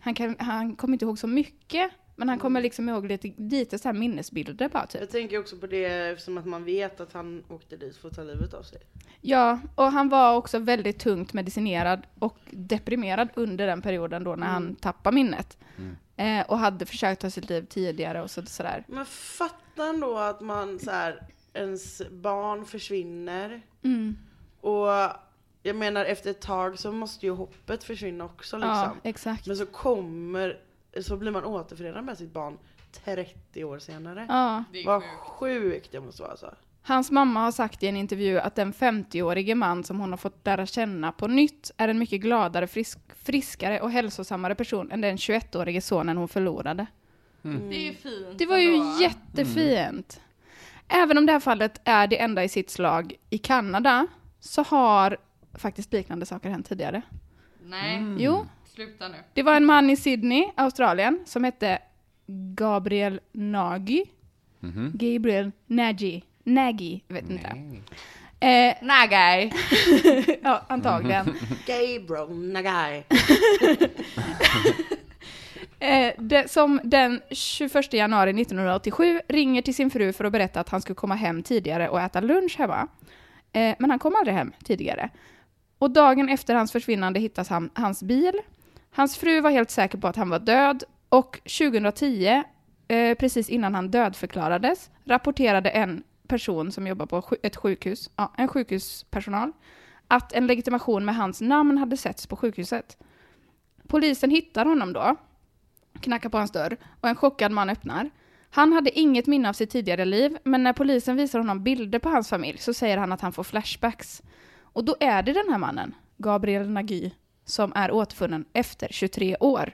Speaker 2: han, kan, han kommer inte ihåg så mycket. Men han kommer liksom ihåg lite, lite så här minnesbilder bara typ.
Speaker 4: Jag tänker också på det eftersom att man vet att han åkte dit för att ta livet av sig.
Speaker 2: Ja, och han var också väldigt tungt medicinerad och deprimerad under den perioden då när han tappade minnet. Eh, och hade försökt ta sitt liv tidigare och så, sådär.
Speaker 4: Men fatta ändå att man så här, ens barn försvinner.
Speaker 2: Mm.
Speaker 4: Och jag menar efter ett tag så måste ju hoppet försvinna också
Speaker 2: Ja,
Speaker 4: liksom.
Speaker 2: exakt.
Speaker 4: Men så kommer, så blir man återförenad med sitt barn 30 år senare.
Speaker 2: Ja.
Speaker 4: Vad sjukt det måste vara alltså.
Speaker 2: Hans mamma har sagt i en intervju att den 50-årige man som hon har fått lära känna på nytt är en mycket gladare, frisk, friskare och hälsosammare person än den 21-årige sonen hon förlorade.
Speaker 1: Det är ju fint.
Speaker 2: Det var ju
Speaker 1: ändå.
Speaker 2: jättefint. Även om det här fallet är det enda i sitt slag i Kanada så har faktiskt liknande saker hänt tidigare.
Speaker 1: Nej,
Speaker 2: Jo,
Speaker 1: sluta nu.
Speaker 2: det var en man i Sydney, Australien, som hette Gabriel Nagy. Gabriel Nagy. Nagy, vet inte. Eh,
Speaker 1: Nagai.
Speaker 2: ja, antagligen.
Speaker 4: Gay bro, nagai.
Speaker 2: Eh, det, som den 21 januari 1987 ringer till sin fru för att berätta att han skulle komma hem tidigare och äta lunch hemma. Eh, men han kom aldrig hem tidigare. Och dagen efter hans försvinnande hittas han, hans bil. Hans fru var helt säker på att han var död och 2010, eh, precis innan han dödförklarades, rapporterade en person som jobbar på sju- ett sjukhus, ja, en sjukhuspersonal, att en legitimation med hans namn hade setts på sjukhuset. Polisen hittar honom då knackar på hans dörr och en chockad man öppnar. Han hade inget minne av sitt tidigare liv, men när polisen visar honom bilder på hans familj så säger han att han får flashbacks. Och då är det den här mannen, Gabriel Nagy, som är återfunnen efter 23 år.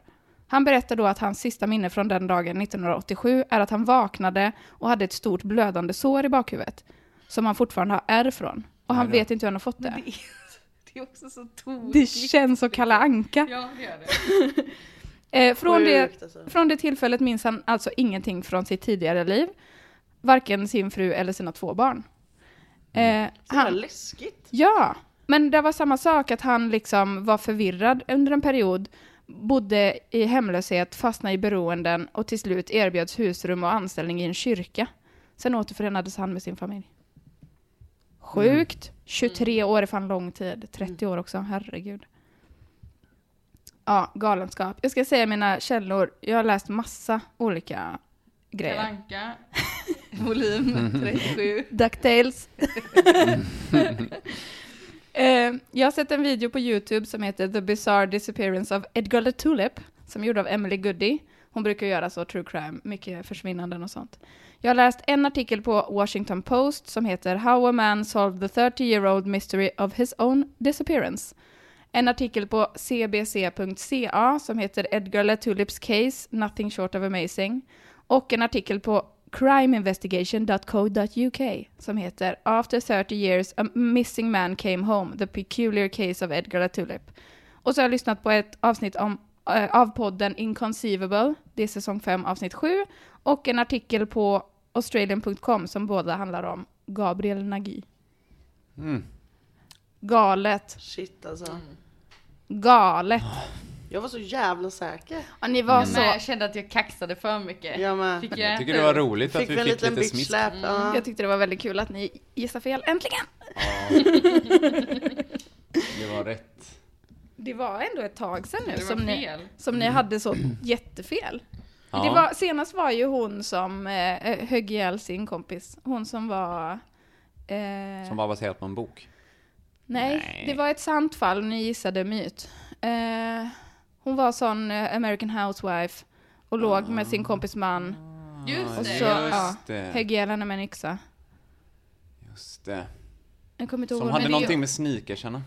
Speaker 2: Han berättar då att hans sista minne från den dagen 1987 är att han vaknade och hade ett stort blödande sår i bakhuvudet, som han fortfarande har ärr från. Och han vet inte hur han har fått det.
Speaker 1: Det är också så tokigt.
Speaker 2: Det känns som Kalle Anka.
Speaker 1: Ja, det gör det.
Speaker 2: Eh, från, det,
Speaker 4: Sjukt, alltså.
Speaker 2: från det tillfället minns han alltså ingenting från sitt tidigare liv. Varken sin fru eller sina två barn. Eh,
Speaker 4: Vad
Speaker 2: han,
Speaker 4: läskigt.
Speaker 2: ja, men det var samma sak att han liksom var förvirrad under en period, bodde i hemlöshet, fastnade i beroenden och till slut erbjöds husrum och anställning i en kyrka. Sen återförenades han med sin familj. Sjukt. 23 år är fan lång tid. 30 år också, herregud. Ja, galenskap. Jag ska säga mina källor. Jag har läst massa olika
Speaker 1: Kalle
Speaker 2: grejer.
Speaker 1: Anka, volym 37.
Speaker 2: Ducktails. eh, jag har sett en video på YouTube som heter The Bizarre Disappearance of Edgar the Tulip, som är gjord av Emily Goody. Hon brukar göra så true crime, mycket försvinnanden och sånt. Jag har läst en artikel på Washington Post som heter How a man solved the 30-year-old mystery of his own disappearance. En artikel på cbc.ca som heter Edgar LaTulips case, nothing short of amazing. Och en artikel på crimeinvestigation.co.uk som heter After 30 years a missing man came home, the peculiar case of Edgar LaTulip. Och så har jag lyssnat på ett avsnitt om, eh, av podden Inconceivable, det är säsong 5 avsnitt 7, och en artikel på australian.com som båda handlar om Gabriel Nagy. Galet,
Speaker 4: Shit alltså.
Speaker 2: galet.
Speaker 4: Jag var så jävla säker.
Speaker 2: Ja, ni var
Speaker 1: Men eh,
Speaker 2: så...
Speaker 1: jag kände att jag kaxade för mycket.
Speaker 4: Jag med.
Speaker 1: Fick
Speaker 3: Jag
Speaker 1: jag
Speaker 3: tycker
Speaker 1: äta
Speaker 3: det var
Speaker 1: upp?
Speaker 3: roligt
Speaker 4: Fick
Speaker 3: att vi
Speaker 4: väl en
Speaker 3: fick
Speaker 4: liten
Speaker 3: lite smisk.
Speaker 4: bitchsläp. ja.
Speaker 2: Mm. Jag tyckte det var väldigt kul att ni gissade fel. Äntligen!
Speaker 3: Det var rätt.
Speaker 2: Det var ändå ett tag sedan nu
Speaker 1: Det var
Speaker 2: som ni,
Speaker 1: fel. Mm.
Speaker 2: som ni hade så jättefel.
Speaker 3: Ja.
Speaker 2: Det var, senast var ju hon som eh, högg ihjäl sin kompis. Hon som var... Eh,
Speaker 3: Som var baserat på en bok.
Speaker 2: nej, det var ett sant fall. Ni gissade myt. Eh, hon var sån eh, American housewife och låg med sin kompis man.
Speaker 1: Ah. Just
Speaker 2: Och
Speaker 1: det.
Speaker 2: så ja,
Speaker 3: Just det.
Speaker 2: högg ihjäl henne med en yxa.
Speaker 3: Just det.
Speaker 2: Jag kommer inte ihåg
Speaker 3: Som
Speaker 2: vad
Speaker 3: hade
Speaker 2: hon
Speaker 3: någonting med sneakersarna.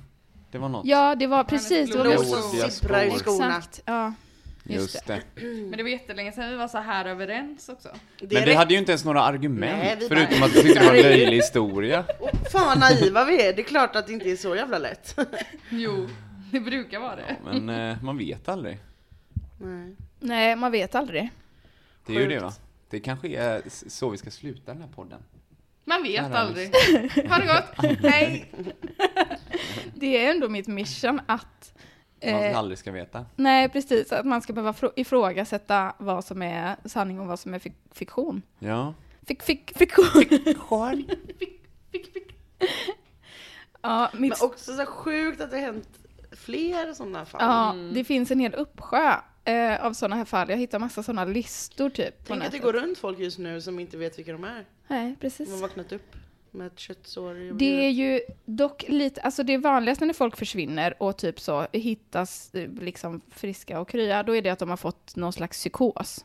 Speaker 3: Det var något.
Speaker 2: Ja, det var precis. Det var
Speaker 4: Blod
Speaker 2: någon-
Speaker 4: som
Speaker 3: Blodiga
Speaker 4: sipprar i
Speaker 3: spår.
Speaker 4: skorna.
Speaker 2: Exakt, ja.
Speaker 3: just,
Speaker 2: just
Speaker 3: det.
Speaker 1: Men det var jättelänge sedan vi var så här överens också.
Speaker 4: Det
Speaker 3: Men
Speaker 4: är
Speaker 3: vi
Speaker 4: rätt-
Speaker 3: hade ju inte ens några argument.
Speaker 4: Nej, vi bara-
Speaker 3: förutom att vi tyckte det var en löjlig historia.
Speaker 4: Åh, Fan vad naiva vi är, det är klart att det inte är så jävla lätt.
Speaker 1: Jo, det brukar vara det.
Speaker 3: Men eh, man vet aldrig.
Speaker 4: Nej.
Speaker 2: Nej, man vet aldrig.
Speaker 3: Det är ju det
Speaker 4: Sjukt.
Speaker 3: va? Det kanske är s- så vi ska sluta den här podden.
Speaker 1: Man vet
Speaker 3: Kära
Speaker 1: aldrig. Ha det gott. Hej.
Speaker 2: det är ändå mitt mission att
Speaker 3: Man
Speaker 2: eh,
Speaker 3: aldrig ska veta.
Speaker 2: Nej, precis. Att man ska behöva fro- ifrågasätta vad som är sanning och vad som är fik- fiktion.
Speaker 3: Ja.
Speaker 2: Fik, fik, fiktion. ja,
Speaker 4: Men
Speaker 2: mitt,
Speaker 4: också så här sjukt att det har hänt fler sådana fall.
Speaker 2: ja,
Speaker 1: Mm.
Speaker 2: det finns en hel uppsjö eh, av sådana här fall. Jag hittar massa sådana listor typ. På
Speaker 4: Tänk att det
Speaker 2: nätet.
Speaker 4: går runt folk just nu som inte vet vilka de är.
Speaker 2: Nej,
Speaker 4: De har
Speaker 2: precis.
Speaker 4: vaknat upp med ett köttsår i
Speaker 2: Det är ju dock lite, alltså det vanligaste när folk försvinner och typ så hittas eh, liksom friska och krya, då är det att de har fått någon slags psykos.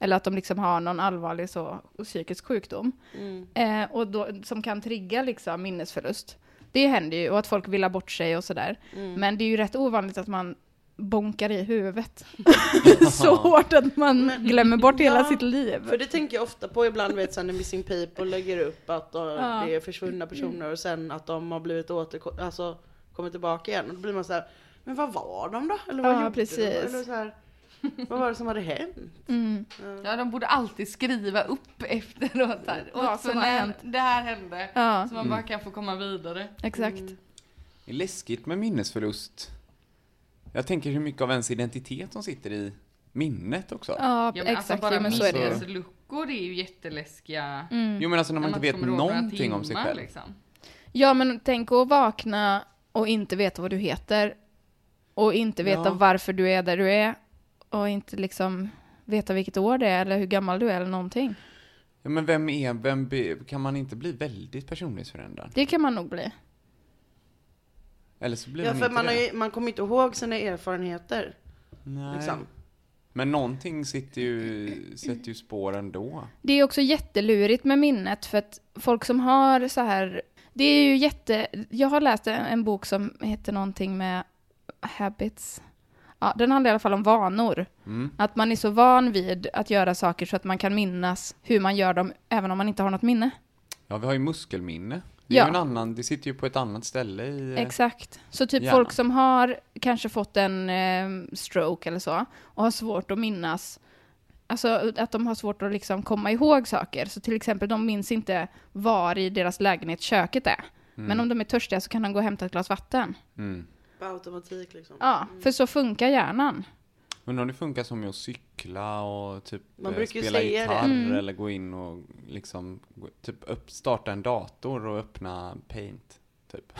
Speaker 2: Eller att de liksom har någon allvarlig så, psykisk sjukdom.
Speaker 1: Mm.
Speaker 2: Eh, och då, som kan trigga liksom minnesförlust. Det händer ju, och att folk villar bort sig och sådär.
Speaker 1: Mm.
Speaker 2: Men det är ju rätt ovanligt att man bonkar i huvudet så hårt att man
Speaker 4: Men-
Speaker 2: glömmer bort hela
Speaker 4: Ja,
Speaker 2: sitt liv.
Speaker 4: För det tänker jag ofta på ibland vet sen när Missing People lägger upp att eh, det är försvunna personer och sen att de har blivit återko- alltså kommit tillbaka igen. Och då blir man så här, men vad var de då? Eller vad
Speaker 2: Ja,
Speaker 4: gjorde
Speaker 2: precis.
Speaker 4: de? Eller så här, vad var det som hade hänt?
Speaker 1: Ja, de borde alltid skriva upp efteråt. Här,
Speaker 2: Vad
Speaker 1: Och
Speaker 2: som
Speaker 1: så
Speaker 2: har
Speaker 1: när
Speaker 2: hänt.
Speaker 1: Det här hände.
Speaker 2: Ja.
Speaker 1: Så man bara kan få komma vidare.
Speaker 2: Exakt.
Speaker 1: Mm.
Speaker 3: Det är läskigt med minnesförlust. Jag tänker hur mycket av ens identitet som sitter i minnet också.
Speaker 2: Ja,
Speaker 1: Ja, men
Speaker 2: exakt.
Speaker 1: alltså bara
Speaker 2: jo, men så är det ju. Mm.
Speaker 1: minnesluckor är ju jätteläskiga.
Speaker 3: Jo men alltså när man,
Speaker 1: Mm. När
Speaker 3: inte vet
Speaker 1: kommer ihåg några
Speaker 3: någonting om sig
Speaker 1: timmar,
Speaker 3: själv.
Speaker 1: Liksom.
Speaker 2: Ja, men tänk att vakna och inte veta vad du heter. Och inte veta
Speaker 3: Ja.
Speaker 2: varför du är där du är. Och inte liksom veta vilket år det är eller hur gammal du är eller någonting.
Speaker 3: Ja, men vem är, vem be, kan man inte bli väldigt personlighetsförändrad?
Speaker 2: Det kan man nog bli.
Speaker 3: Eller så blir
Speaker 4: Ja,
Speaker 3: man
Speaker 4: för
Speaker 3: inte
Speaker 4: man,
Speaker 3: det.
Speaker 4: har ju, man kommer inte ihåg sina erfarenheter.
Speaker 3: Nej.
Speaker 4: Liksom.
Speaker 3: Men någonting sitter ju, sätter ju spår ändå.
Speaker 2: Det är också jättelurigt med minnet för att folk som har så här... Det är ju jätte... Jag har läst en, en bok som heter någonting med habits. Ja, den handlar i alla fall om vanor. Att man är så van vid att göra saker så att man kan minnas hur man gör dem även om man inte har något minne.
Speaker 3: Ja, vi har ju muskelminne. Det är
Speaker 2: Ja.
Speaker 3: ju en annan, det sitter ju på ett annat ställe i...
Speaker 2: Exakt. Så typ
Speaker 3: hjärnan.
Speaker 2: folk som har kanske fått en eh, stroke eller så och har svårt att minnas, alltså att de har svårt att liksom komma ihåg saker. Så till exempel de minns inte var i deras lägenhet köket är.
Speaker 3: Mm.
Speaker 2: Men om de är törstiga så kan de gå och hämta ett glas vatten.
Speaker 4: På automatik liksom.
Speaker 2: Ja, för så funkar hjärnan.
Speaker 3: Undrar om det funkar som med att cykla och typ
Speaker 4: Man
Speaker 3: eh,
Speaker 4: brukar ju
Speaker 3: spela
Speaker 4: säga det.
Speaker 3: gitarr
Speaker 2: Mm.
Speaker 3: eller gå in och liksom gå- typ upp, starta en dator och öppna paint. Typ.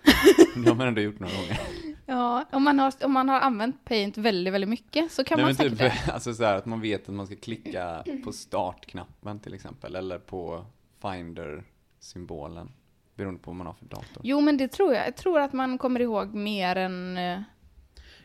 Speaker 3: det har man ändå gjort några gånger.
Speaker 2: Ja, om man har, om man har använt paint väldigt, väldigt mycket så kan
Speaker 3: Nej,
Speaker 2: man
Speaker 3: men
Speaker 2: säkert
Speaker 3: typ,
Speaker 2: det.
Speaker 3: alltså så här, att man vet att man ska klicka på startknappen till exempel eller på finder-symbolen. Beroende på vad man har för dator.
Speaker 2: Jo, men det tror jag. Jag tror att man kommer ihåg mer än... eh,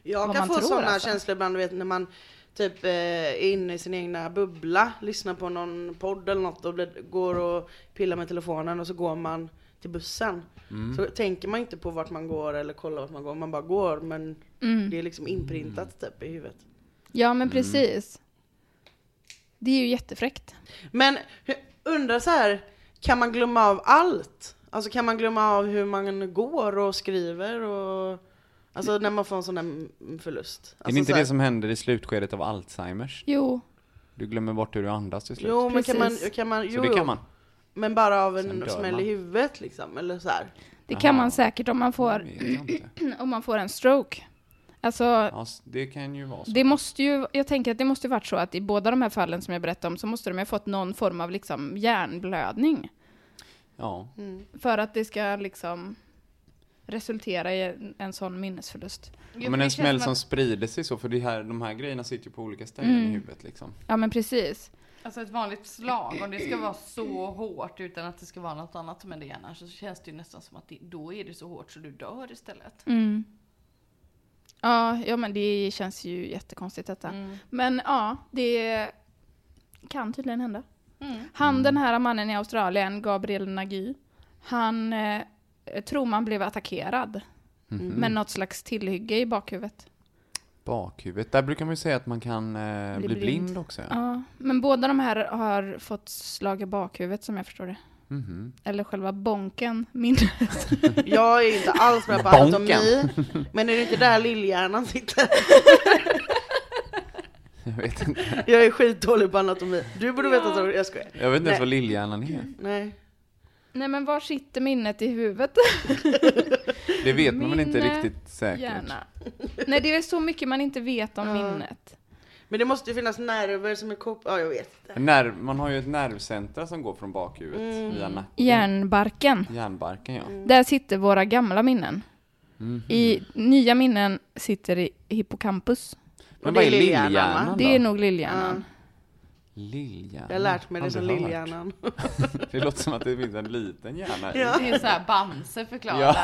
Speaker 4: Jag
Speaker 2: vad man
Speaker 4: kan få
Speaker 2: tror,
Speaker 4: sådana
Speaker 2: alltså.
Speaker 4: känslor ibland, du vet när man typ eh, är inne i sin egna bubbla, lyssnar på någon podd eller något och blir, går och pillar med telefonen och så går man till bussen.
Speaker 3: Mm.
Speaker 4: Så tänker man inte på vart man går eller kollar vart man går, man bara går men
Speaker 2: Mm.
Speaker 4: det är
Speaker 3: Mm.
Speaker 4: liksom inprintat typ i huvudet.
Speaker 2: Ja, men precis. Det är ju jättefräckt.
Speaker 4: Men hur- undrar så här, kan man glömma av allt? Alltså kan man glömma av hur man går och skriver och Alltså när man får en sån där mm, förlust.
Speaker 3: är
Speaker 4: Alltså,
Speaker 3: det inte
Speaker 4: så här-
Speaker 3: det som händer i slutskedet av Alzheimers?
Speaker 2: Jo,
Speaker 3: Du glömmer bort hur du andas till slut.
Speaker 4: Jo men kan man,
Speaker 2: Precis.
Speaker 4: kan man,
Speaker 3: Så
Speaker 4: jo,
Speaker 3: det
Speaker 4: jo.
Speaker 3: kan man.
Speaker 4: Men bara av
Speaker 3: Sen
Speaker 4: en
Speaker 3: dör
Speaker 4: smäll
Speaker 3: man.
Speaker 4: i huvudet liksom, eller så här.
Speaker 2: det kan
Speaker 3: Jaha.
Speaker 2: man säkert om man
Speaker 3: Jag
Speaker 2: får,
Speaker 3: vet inte.
Speaker 2: om man får en stroke. Alltså,
Speaker 3: Mm. Ja, s- det kan ju vara så.
Speaker 2: det måste ju, jag tänker att det måste ju varit så att i båda de här fallen som jag berättade om så måste de ju ha fått någon form av liksom hjärnblödning.
Speaker 3: Ja.
Speaker 2: För att det ska liksom resultera i en, en sån minnesförlust.
Speaker 1: Jo,
Speaker 3: men
Speaker 1: det
Speaker 3: en
Speaker 1: känns
Speaker 3: smäll
Speaker 1: som
Speaker 3: som
Speaker 1: att-
Speaker 3: sprider sig så, för det här, de här grejerna sitter ju på olika ställen i huvudet liksom.
Speaker 2: Ja men precis.
Speaker 1: Alltså ett vanligt slag, om det ska vara så hårt utan att det ska vara något annat som händer i hjärnan så känns det ju nästan som att det, då är det så hårt så du dör istället.
Speaker 2: Mm. Ja, ja men det känns ju jättekonstigt detta. Men ja, det kan tydligen hända. Han den här mannen i Australien, Gabriel Nagy, han eh, tror man blev attackerad. Med något slags tillhygge i bakhuvudet.
Speaker 3: Bakhuvudet. Där brukar man ju säga att man kan eh, bli,
Speaker 2: Bli
Speaker 3: blind.
Speaker 2: blind.
Speaker 3: också. Ja.
Speaker 2: Ja, men båda de här har fått slag i bakhuvudet som jag förstår det. Eller själva bonken, minnet.
Speaker 4: Jag är inte alls med på
Speaker 3: Bonken.
Speaker 4: anatomi, men är det inte där lillhjärnan sitter?
Speaker 3: Jag vet inte,
Speaker 4: Jag är skitdålig på anatomi. Du borde veta att jag- jag skojar.
Speaker 3: jag vet inte ens
Speaker 4: Nej.
Speaker 3: vad lillhjärnan är.
Speaker 4: Nej.
Speaker 2: Nej men var sitter minnet i huvudet?
Speaker 3: Det vet man väl inte
Speaker 2: Minne,
Speaker 3: riktigt säkert.
Speaker 2: Gärna. Nej, det är så mycket man inte vet om minnet.
Speaker 4: Men det måste ju finnas nerver som är kopplade, ja jag vet inte.
Speaker 3: Nerv, man har ju ett nervcentra som går från bakhuvudet via nacken.
Speaker 2: Hjärnbarken.
Speaker 3: Hjärnbarken ja.
Speaker 2: Där sitter våra gamla minnen.
Speaker 4: Mhm.
Speaker 2: I nya minnen sitter i hippocampus.
Speaker 3: Men
Speaker 4: det
Speaker 3: vad
Speaker 4: är
Speaker 3: är
Speaker 4: lillhjärnan,
Speaker 3: lillhjärnan
Speaker 4: va?
Speaker 3: då?
Speaker 2: Det är nog lillhjärnan.
Speaker 3: Lillhjärnan.
Speaker 4: Jag har lärt mig det som
Speaker 3: Mm. Aldrig hört.
Speaker 4: lillhjärnan.
Speaker 3: Det låter som att det finns en liten hjärna i.
Speaker 4: Ja.
Speaker 1: Det är såhär Bamse förklarar.
Speaker 3: Ja.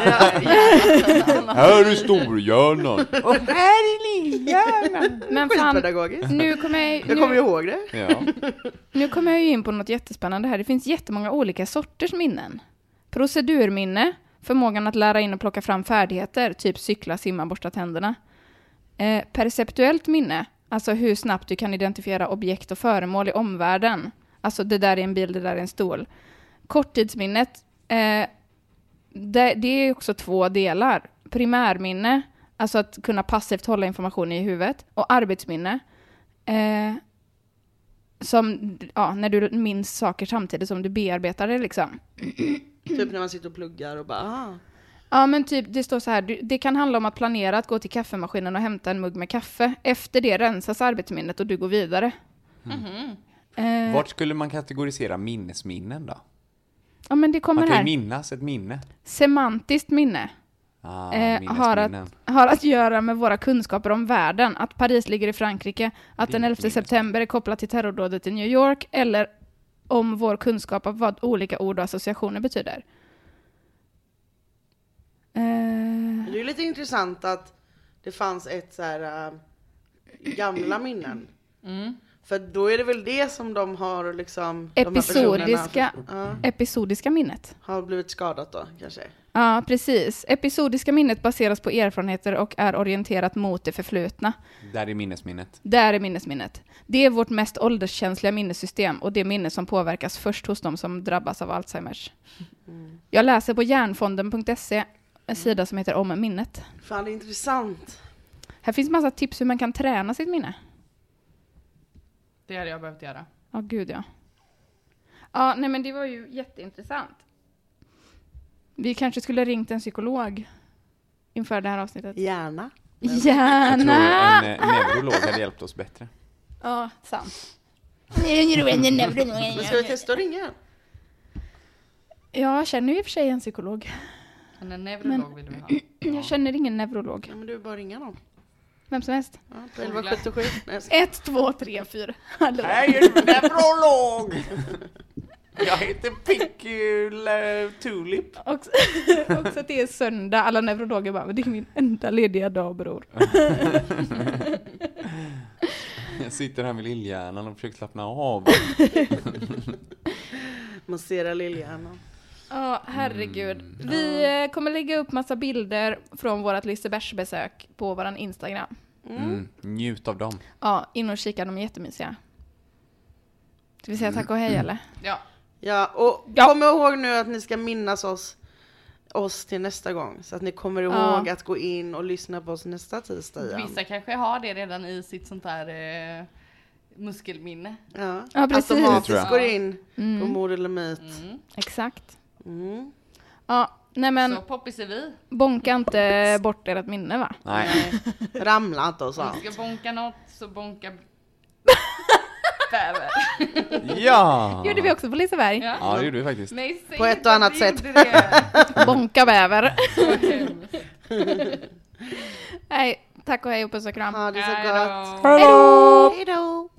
Speaker 3: Här är storhjärnan. Och här är lillhjärnan.
Speaker 2: Men fan,
Speaker 4: Skitpedagogiskt.
Speaker 2: nu kommer jag,
Speaker 4: Jag
Speaker 2: nu,
Speaker 4: kommer ihåg det.
Speaker 3: Ja.
Speaker 2: nu kommer jag ju in på något jättespännande här. Det finns jättemånga olika sorters minnen. Procedurminne, förmågan att lära in och plocka fram färdigheter, typ cykla, simma, borsta tänderna. Eh, perceptuellt minne, alltså hur snabbt du kan identifiera objekt och föremål i omvärlden. Alltså det där är en bil, det där är en stol. Korttidsminnet, eh, det, det är också två delar. Primärminne, alltså att kunna passivt hålla information i huvudet. Och arbetsminne, eh, som, ja, när du minns saker samtidigt som du bearbetar det liksom.
Speaker 4: Typ när man sitter och pluggar och bara ah.
Speaker 2: Ja men typ, det står så här, du- det kan handla om att planera att gå till kaffemaskinen och hämta en mugg med kaffe. Efter det rensas arbetsminnet och du går vidare. Eh,
Speaker 3: Vart skulle man kategorisera minnesminnen då?
Speaker 2: ja men det kommer
Speaker 3: Man kan ju
Speaker 2: här.
Speaker 3: minnas ett minne.
Speaker 2: Semantiskt minne.
Speaker 3: Ah,
Speaker 2: eh, har,
Speaker 3: minnesminnen.
Speaker 2: att, har att göra med våra kunskaper om världen. Att Paris ligger i Frankrike, att den 11 september är kopplat till terrordådet i New York, eller om vår kunskap om vad olika ord och associationer betyder. Eh,
Speaker 4: Det är ju lite intressant att det fanns ett så här äh, gamla minnen.
Speaker 2: Mm.
Speaker 4: För då är det väl det som de har liksom de här
Speaker 2: episodiska,
Speaker 4: personerna, ja,
Speaker 2: episodiska minnet.
Speaker 4: har blivit skadat då kanske.
Speaker 2: Ja, precis. Episodiska minnet baseras på erfarenheter och är orienterat mot det förflutna.
Speaker 3: Där är minnesminnet.
Speaker 2: Där är minnesminnet. Det är vårt mest ålderskänsliga minnessystem och det minne som påverkas först hos de som drabbas av Alzheimers. Jag läser på hjärnfonden.se, en sida som heter Om minnet.
Speaker 4: Fan det är intressant.
Speaker 2: Här finns massa tips hur man kan träna sitt minne.
Speaker 1: Det hade jag behövt göra.
Speaker 2: Ja, gud ja. Ja, nej men det var ju jätteintressant. Vi kanske skulle ringt en psykolog inför det här avsnittet.
Speaker 4: Gärna.
Speaker 3: Jag tror
Speaker 2: Gärna!
Speaker 3: en eh, neurolog hade hjälpt oss bättre.
Speaker 2: Ja, sant.
Speaker 4: Men ska vi testa att ringa?
Speaker 2: Jag känner ju i och för sig en psykolog.
Speaker 1: Men en neurolog vill vi ha.
Speaker 2: Jag känner ingen neurolog.
Speaker 4: Ja men du är bara att ringa någon.
Speaker 2: Vem som helst.
Speaker 4: Ja, på 1177. Nej, jag skojar.
Speaker 2: Ett, två, tre, fyra. Hallå.
Speaker 3: Jag är neurolog! Jag heter Pinky Tulip.
Speaker 2: Också, också att det är söndag. Alla neurologer bara, "Men det är min enda lediga dag bror.
Speaker 3: Jag sitter här med lillhjärnan och försöker slappna av.
Speaker 4: Massera lillhjärnan.
Speaker 2: Ja, herregud. Vi eh, kommer lägga upp massa bilder från vårt Lisebergsbesök på våran Instagram.
Speaker 3: Mm. Njut av dem.
Speaker 2: Ja, in och kika, de är jättemysiga. Ska vi säga tack och hej eller?
Speaker 1: Ja.
Speaker 4: Ja och
Speaker 2: Ja.
Speaker 4: kom ihåg nu att ni ska minnas oss oss till nästa gång så att ni kommer ihåg att gå in och lyssna på oss nästa tisdag igen.
Speaker 1: Vissa kanske har det redan i sitt sånt där eh, muskelminne.
Speaker 4: Ja.
Speaker 2: Ja, precis. Mm.
Speaker 3: tror jag.
Speaker 4: Automatiskt går in på mord eller myt.
Speaker 2: Exakt.
Speaker 4: Mm.
Speaker 2: Ja, nej men
Speaker 1: Så poppis är vi.
Speaker 2: bonka inte bort ert minne va?
Speaker 3: Nej.
Speaker 4: Ramla inte och
Speaker 1: Om
Speaker 3: Mm.
Speaker 4: sånt.
Speaker 1: vi ska bonka något så bonka bäver.
Speaker 3: Ja!
Speaker 2: Gjorde vi också på Liseberg.
Speaker 1: Ja.
Speaker 3: Ja, det gjorde vi faktiskt.
Speaker 1: Nej, säg
Speaker 4: På ett
Speaker 1: inte
Speaker 4: och
Speaker 1: att
Speaker 4: annat
Speaker 1: vi
Speaker 4: sätt.
Speaker 1: gjorde det.
Speaker 2: Bonka bäver. nej, tack och hej och puss och kram.
Speaker 4: Ha det så
Speaker 1: Hej
Speaker 4: gott.
Speaker 1: då.
Speaker 4: Hej då!